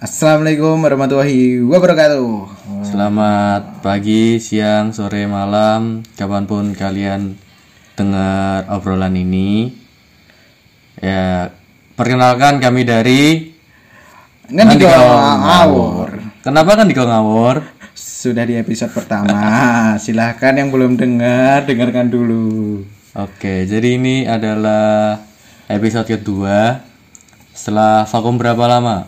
Assalamualaikum warahmatullahi wabarakatuh. Selamat pagi, siang, sore, malam, kapanpun kalian dengar obrolan ini. Ya, perkenalkan kami dari Kan Nandiko juga ngawur. Kenapa kan Diko Ngawur? Sudah di episode pertama. Silahkan yang belum dengar dengarkan dulu. Oke, jadi ini adalah episode kedua setelah vakum berapa lama?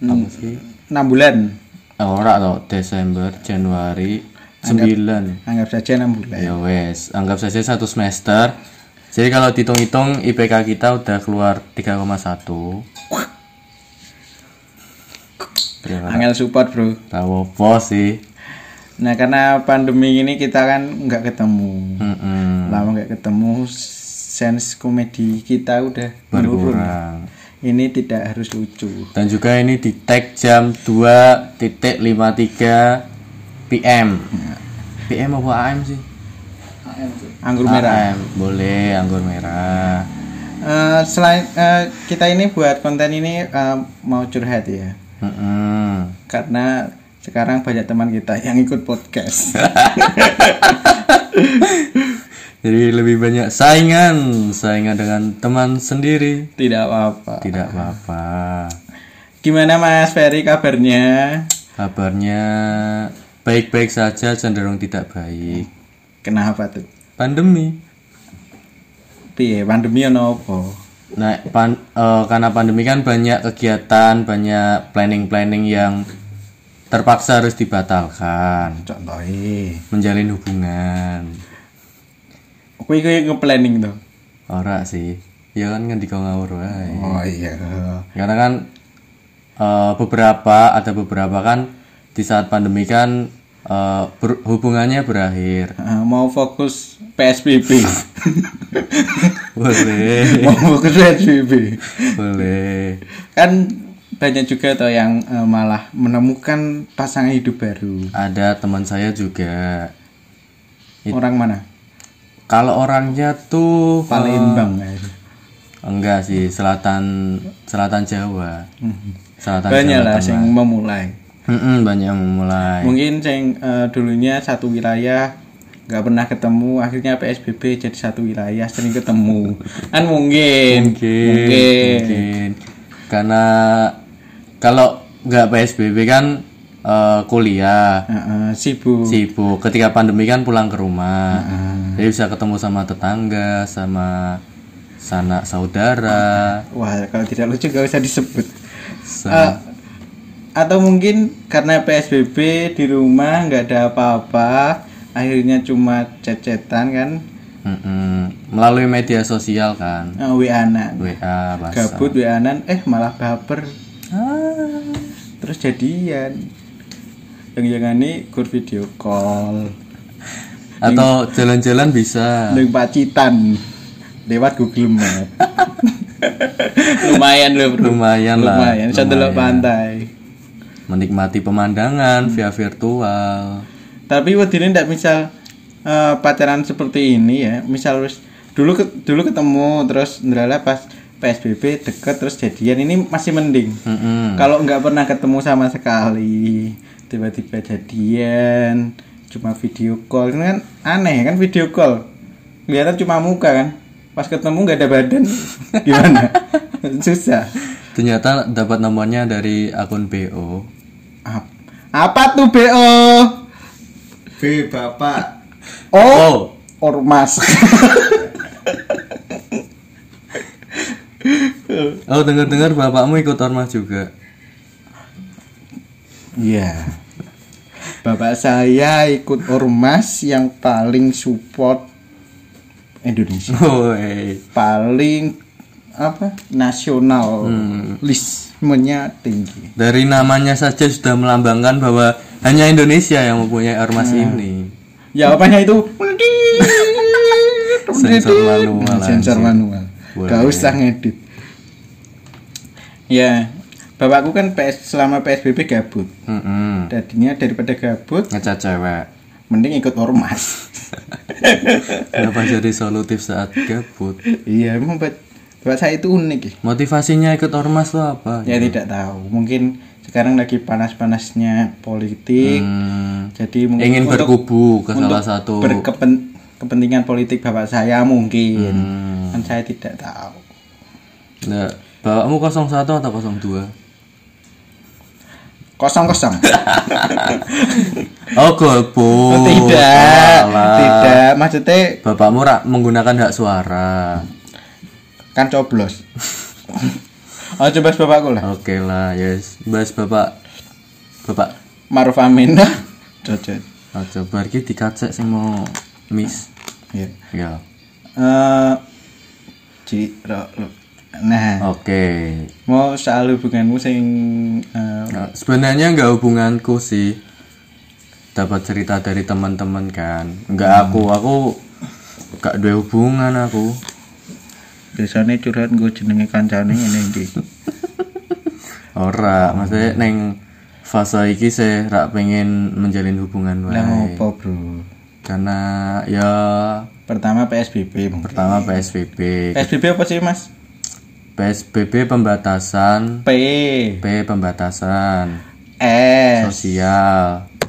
Apa sih? 6 bulan. Oh, ora toh, Desember, Januari, 9. Anggap saja 6 bulan. Ya wes, anggap saja satu semester. Jadi kalau dihitung-hitung IPK kita udah keluar 3,1. Terima Angel support, Bro. Tahu apa sih? Nah, karena pandemi ini kita kan nggak ketemu. Mm-mm, Lama nggak ketemu sense komedi kita udah menurun. Kurang. Ini tidak harus lucu. Dan juga ini di tag jam 2.53 PM. PM apa AM sih? Nah. Anggur merah. AM, boleh anggur merah. Eh, selain eh, kita ini buat konten ini eh, mau curhat ya. Mm-mm. karena sekarang banyak teman kita yang ikut podcast Jadi lebih banyak saingan, saingan dengan teman sendiri. tidak apa-apa Tidak apa-apa. gimana mas Ferry kabarnya Kabarnya baik-baik saja, cenderung tidak baik. kenapa tuh Pandemi. piye pandemi ono apa Nah, pan- eh, karena pandemi kan banyak kegiatan, banyak planning-planning yang terpaksa harus dibatalkan. contohnya Menjalin hubungan. kui kui nge-planning tuh Ora sih. Ya kan kan ngawur wae. oh iya Karena kan eh, beberapa ada beberapa kan di saat pandemi kan eh, ber- hubungannya berakhir. Eh, mau fokus PSBB Boleh, mau fokus PSBB boleh. kan banyak juga tuh yang eh, malah menemukan pasangan hidup baru Ada teman saya juga. orang mana Kalau orangnya tuh Palembang enggak sih selatan selatan Jawa. Selatan banyak Jawa lah Tengah. yang memulai Mm-mm, banyak yang mulai. mungkin yang eh, dulunya satu wilayah nggak pernah ketemu akhirnya PSBB jadi satu wilayah sering ketemu kan mungkin mungkin, mungkin. karena kalau nggak PSBB kan eh, kuliah Eh, eh, sibuk sibuk ketika pandemi kan pulang ke rumah jadi bisa ketemu sama tetangga sama sanak saudara wah kalau tidak lucu gak usah disebut Eh, sa- atau mungkin karena PSBB di rumah nggak ada apa-apa akhirnya cuma cecetan kan Mm-mm. melalui media sosial kan eh, WA-an WA bahasa gabut WA-an eh malah baper Ah. terus jadian yang jangan nih kur video call atau jalan-jalan bisa Neng Pacitan lewat Google Map. lumayan loh bro. Lumayan lah, Lumayan. Bisa delok pantai. menikmati pemandangan via virtual Tapi wedine ndak misal eh, pacaran seperti ini ya. Misal wis dulu ke- dulu ketemu terus ndrala pas PSBB deket terus jadian ini masih mending. Mm-mm. Kalau nggak pernah ketemu sama sekali, tiba-tiba jadian, cuma video call ini kan aneh kan video call. Kelihatan cuma muka kan. Pas ketemu nggak ada badan, gimana? Susah. Ternyata dapat nomornya dari akun BO. Ap- Apa tuh BO? B bapak Oh, Oh, ormas. oh dengar-dengar bapakmu ikut ormas juga. Iya. Bapak saya ikut ormas yang paling support Indonesia. Oh, Woi. paling apa Hmm. nasionalismenya tinggi Mm. Dari namanya saja sudah melambangkan bahwa hanya Indonesia yang mempunyai ormas ini. jawabannya itu Sensor manual, sensor anjing. manual gak Boleh. usah ngedit ya bapakku kan PS selama PSBB gabut Mm-mm. tadinya daripada gabut Ngecat cewek. mending ikut ormas Kenapa jadi solutif saat gabut? iya memang bapak saya itu unik ya Hmm. Motivasinya ikut ormas lo apa? ya tidak tahu mungkin sekarang lagi panas-panasnya politik Hmm, jadi mungkin ingin untuk- berkubu ke untuk salah satu berkepen- kepentingan politik bapak saya mungkin Hmm, kan saya tidak tahu Nah, bapakmu 01 atau 02? kosong kosong Oh, golput. tidak Alah. tidak maksudnya Bapakmu rak menggunakan hak suara. kan coblos oh coba bapakku lah Oke lah, yes. Bahas bapak bapak Maruf Amin cocok Oh, coba iki dikacek sing mau miss. ya Ya. Eh, Ci, ro- lo. Oh. nah Oke. mau soal hubunganmu sing eh, Nah, sebenarnya nggak hubunganku sih. Dapat cerita dari teman-teman kan. Hmm. Nggak aku, aku nggak ada hubungan aku. biasanya curhat gue jenenge kancane ini iki Ora, maksudnya neng fase iki saya rak pengen menjalin hubungan lah baik. ngopo bro Karena ya pertama PSBB mungkin. pertama PSBB, PSBB apa sih mas PSBB pembatasan, P P pembatasan S sosial B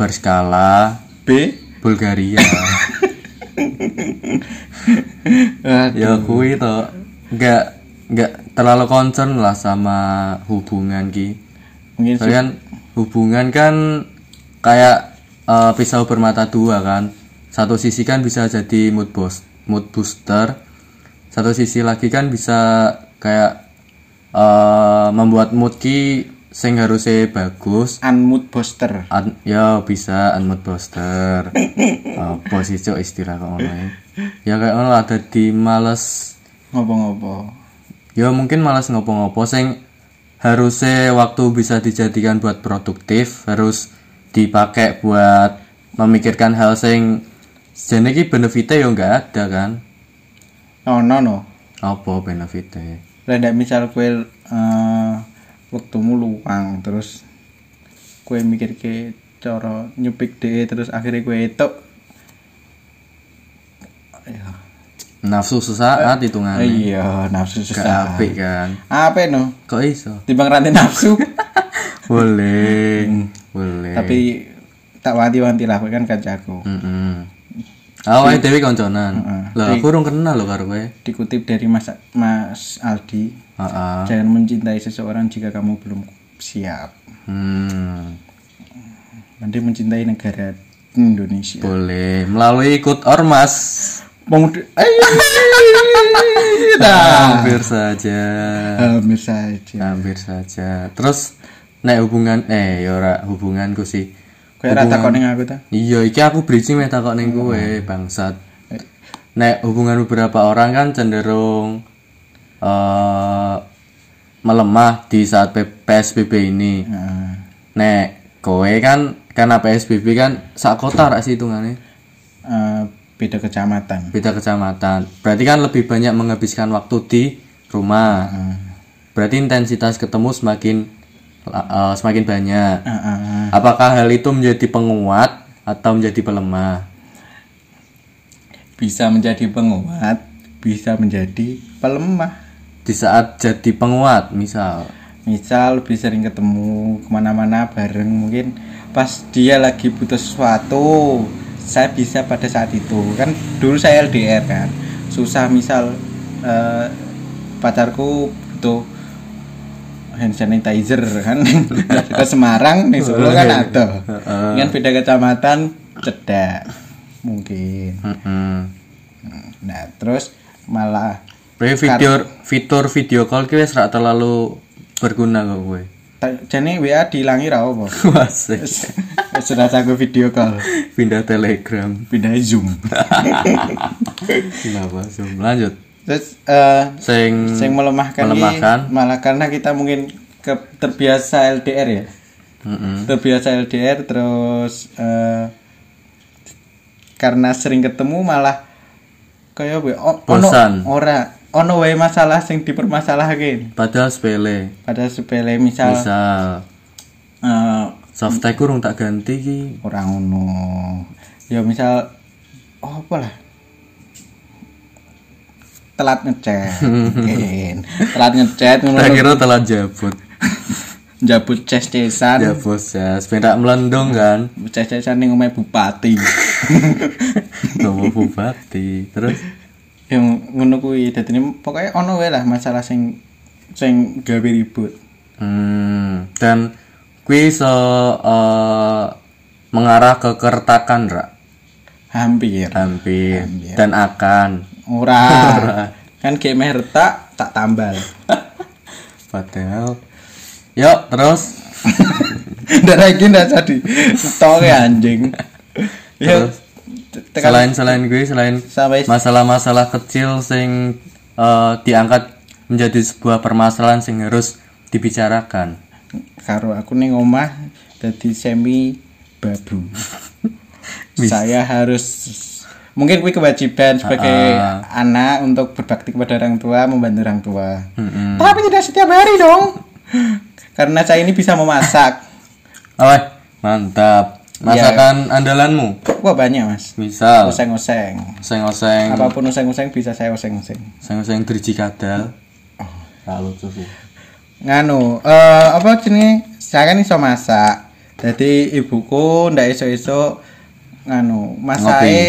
berskala B Bulgaria. Ah, ya kui to nggak nggak terlalu concern lah sama hubungan ki. mungkin sih. Soalnya kan hubungan kan kayak eh, pisau bermata dua kan. Satu sisi kan bisa jadi mood boost, mood booster. Satu sisi lagi kan bisa kayak eh, membuat mood ki sing harusnya bagus. unmute poster An- ya bisa an mood booster. Apa sih cok istilah kok ngono ya? Ya kayak ngono ada di males ngopo-ngopo Ya mungkin malas ngopo-ngopo sing harusnya waktu bisa dijadikan buat produktif harus dipakai buat memikirkan hal sing jenenge iki benefitnya ya nggak ada kan no no no apa benefitnya lah ndak misal kue eh, waktumu luang terus kue mikir ke cara nyupik deh terus akhirnya kue itu Hmm. nafsu sesaat hitungannya iya nafsu gak susah apik kan apa no kok iso timbang rantai nafsu boleh Hmm, boleh tapi tak wanti-wanti lah kue kan kancaku Mm-mm. awalnya dewi konconan lah aku kurang kenal lo karo kowe dikutip dari Mas Mas Aldi Heeh. jangan mencintai seseorang jika kamu belum siap hmm. nanti mencintai negara Indonesia boleh melalui ikut ormas Pemuda- Eh, dah. hampir saja Hampir saja. hampir saja terus nek hubungan eh ya ora hubunganku sih Kayak rata kok ning aku ta. iya iki aku bridging meh takok ning kowe bangsat nek hubungan beberapa orang kan cenderung eh melemah di saat P- PSBB ini Heeh. nek kowe kan karena PSBB kan sak kota rak sih hitungane Eh, beda kecamatan. beda kecamatan berarti kan lebih banyak menghabiskan waktu di rumah berarti intensitas ketemu semakin uh, semakin banyak Nah, Heeh. apakah hal itu menjadi penguat atau menjadi pelemah Bisa menjadi penguat, bisa menjadi pelemah. di saat jadi penguat misal Misal lebih sering ketemu kemana-mana bareng mungkin pas dia lagi butuh sesuatu saya bisa pada saat itu kan dulu saya LDR kan susah misal eh, pacarku butuh hand sanitizer kan ke Semarang nih Solo kan ada kan beda kecamatan cedak mungkin Mm-mm. nah terus malah Berarti fitur fitur video call ki wis rak terlalu berguna kok kowe ta- jane WA dilangi ra apa Wasik. sudah aku video call pindah telegram pindah zoom kenapa Zoom? lanjut terus eh sing yang melemahkan, ini Melemahkan. malah karena kita mungkin ke- terbiasa LDR ya Mm-mm. terbiasa LDR terus eh, karena sering ketemu malah kayak we oh, Bosan. ono, ora ono wae masalah sing dipermasalahke padahal sepele pada sepele misal misal eh, softtek kurung tak ganti ki orang ono ya misal oh apa lah telat ngechat mungkin telat ngechat ngono tak kira telah jabut Njabut ces-cesan. ya bos ya sepeda melendung kan Ces-cesan ning omahe bupati. Nopo bupati terus yang Ya, ngono kuwi dadine pokoke ono wae lah masalah sing sing gawe ribut. hmm, dan kuis mengarah ke kertakan rak Hampir. hampir dan akan Ora. kan kayak meh retak tak tambal. padahal yuk terus Ndak lagi ndak jadi. Stoke anjing. Ya. Terus? tekan- selain selain gue selain Sampai- masalah-masalah kecil sing eh, diangkat menjadi sebuah permasalahan sing harus dibicarakan karo aku ning omah dadi semi babu. Saya harus mungkin kuwi kewajiban sebagai anak untuk berbakti kepada orang tua, membantu orang tua. Hmm, Tapi tidak setiap hari dong. Karena saya ini bisa memasak. Aweh, mantap masakan Iya. andalanmu Wah banyak, Iya. Mas. misal Oseng-oseng. oseng-oseng Apapun oseng-oseng bisa saya oseng-oseng. oseng-oseng driji kadal Ah, lalu tuh Nganu, eh apa jenenge? Saya kan iso masak. Jadi ibuku ndak iso-iso nganu, masake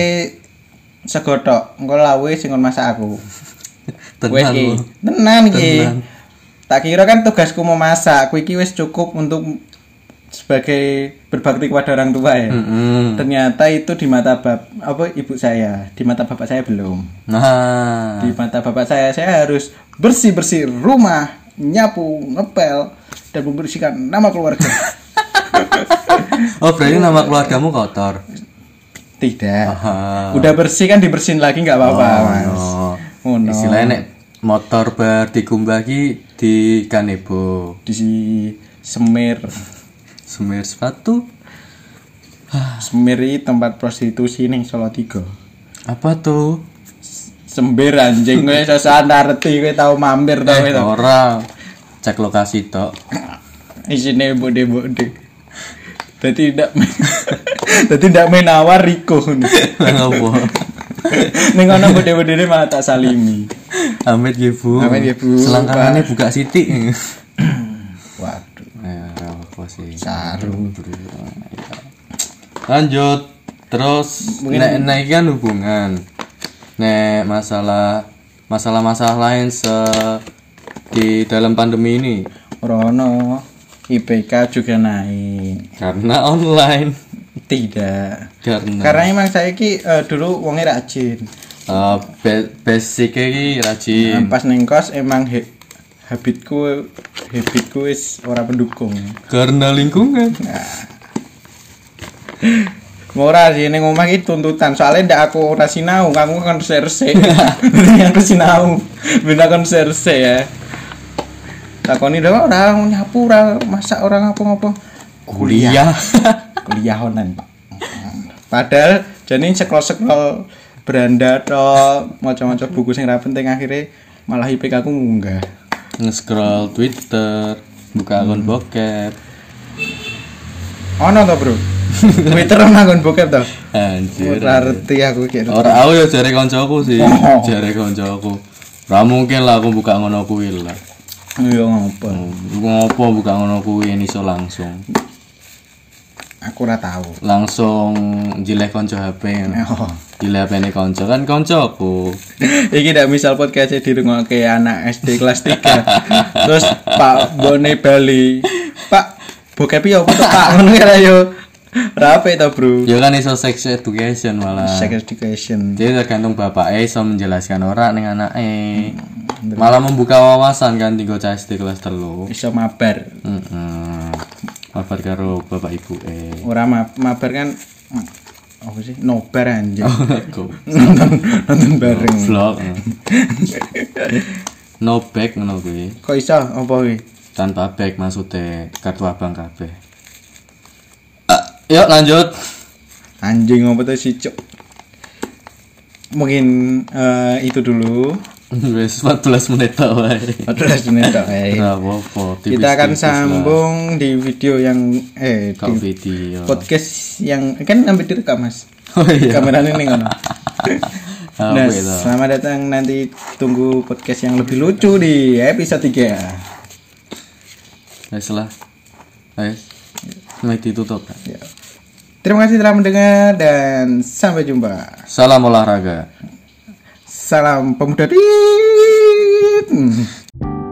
sego tok. Engko lawe sing ngon masak aku. Wes tenang iki. lu Tenan iki. Tenan. Tak kira kan tugasku mau masak, kuwi iki wis cukup untuk sebagai berbakti kepada orang tua ya. Mm-mm. Ternyata itu di mata bab apa ibu saya, di mata bapak saya belum. nah di mata bapak saya saya harus bersih bersih rumah nyapu ngepel dan membersihkan nama keluarga oh berarti Iya, nama keluargamu kotor tidak Aha. udah bersih kan dibersihin lagi nggak apa-apa mas Oh, oh, no. istilahnya nek motor bar dikumbagi di kanebo di si- semir semir sepatu semir ini tempat prostitusi ning Solo Tiga apa tuh sembir anjing gue sosokan arti gue tahu mampir tau eh, itu orang cek lokasi tok isinya bode bode jadi tidak jadi tidak menawar Riko nih ngopo ning ana bode-bodene malah tak salimi amit ya bu Amit ya, Bu. selangkangannya buka sitik waduh Ya, apa sih? Saru. Lanjut. Terus nek nek iki kan hubungan. Nek masalah masalah-masalah lain se di dalam pandemi ini Rono IPK juga naik karena online tidak karena karena emang saya ki eh, dulu wongnya rajin eh, be- basic iki Nah, rajin. pas neng kos emang he- habitku habitku is ora pendukung Karena lingkungan. Mora sih neng omah itu tuntutan soalnya ndak aku ora sinau kamu kan serse yang aku sinau bina kan serse ya takoni doang orang nyapu orang masak orang apa ngapa Kuliah. kuliah online pak padahal jadi sekolah sekolah beranda tok maca-maca buku sing ra penting akhirnya malah IPK aku munggah Nge-scroll Twitter, buka akun bokep. ono to bro Twitter ono nggon bokep to Anjir. ora ngerti aku kira Ora aku ya jare koncoku sih, Oh. jare koncoku. Ora mungkin lah aku buka ngono kuwi lah. yo ngopo Ngopo buka ngono kuwi ini iso langsung. aku ora tahu Langsung jileh konco HP. Oh. Jileh HP ne konco kan koncoku. Iki ndak misal podcast di rumah ke anak SD kelas 3 Terus Pak Bone Bali Pak Bokepi apa tuh Pak Ngono kira yo Rapi to bro Ya kan iso sex education malah. Sex education Jadi tergantung bapak iso menjelaskan ora ning anake. Malah membuka wawasan kan tinggal cah SD kelas telu. Iso mabar Heeh. Kabar karo bapak ibu eh. Ora ma- mabar kan apa sih? Nobar anjing. Oh. Goblok. nonton nonton bareng. No back ngono kuwi. Kok iso apa kuwi? tanpa back maksudnya kartu abang kabeh Ah, yuk lanjut Anjing apa tuh si Cuk? Mungkin eh, itu dulu. wes 14 menit tok wae Aduh, rasanya tak, eh. Ora apa-apa tipis Kita akan sambung di video yang eh kau di video podcast yang kan ambil direkam Mas. oh iya Kameranya ning ngono. Ah, Nah, weh toh. selamat datang nanti tunggu podcast yang lebih lucu di episode 3. wes lah Eh, mulai ditutup. Kan? Ya. Terima kasih telah mendengar dan sampai jumpa. Salam olahraga. Salam pemuda. Tit.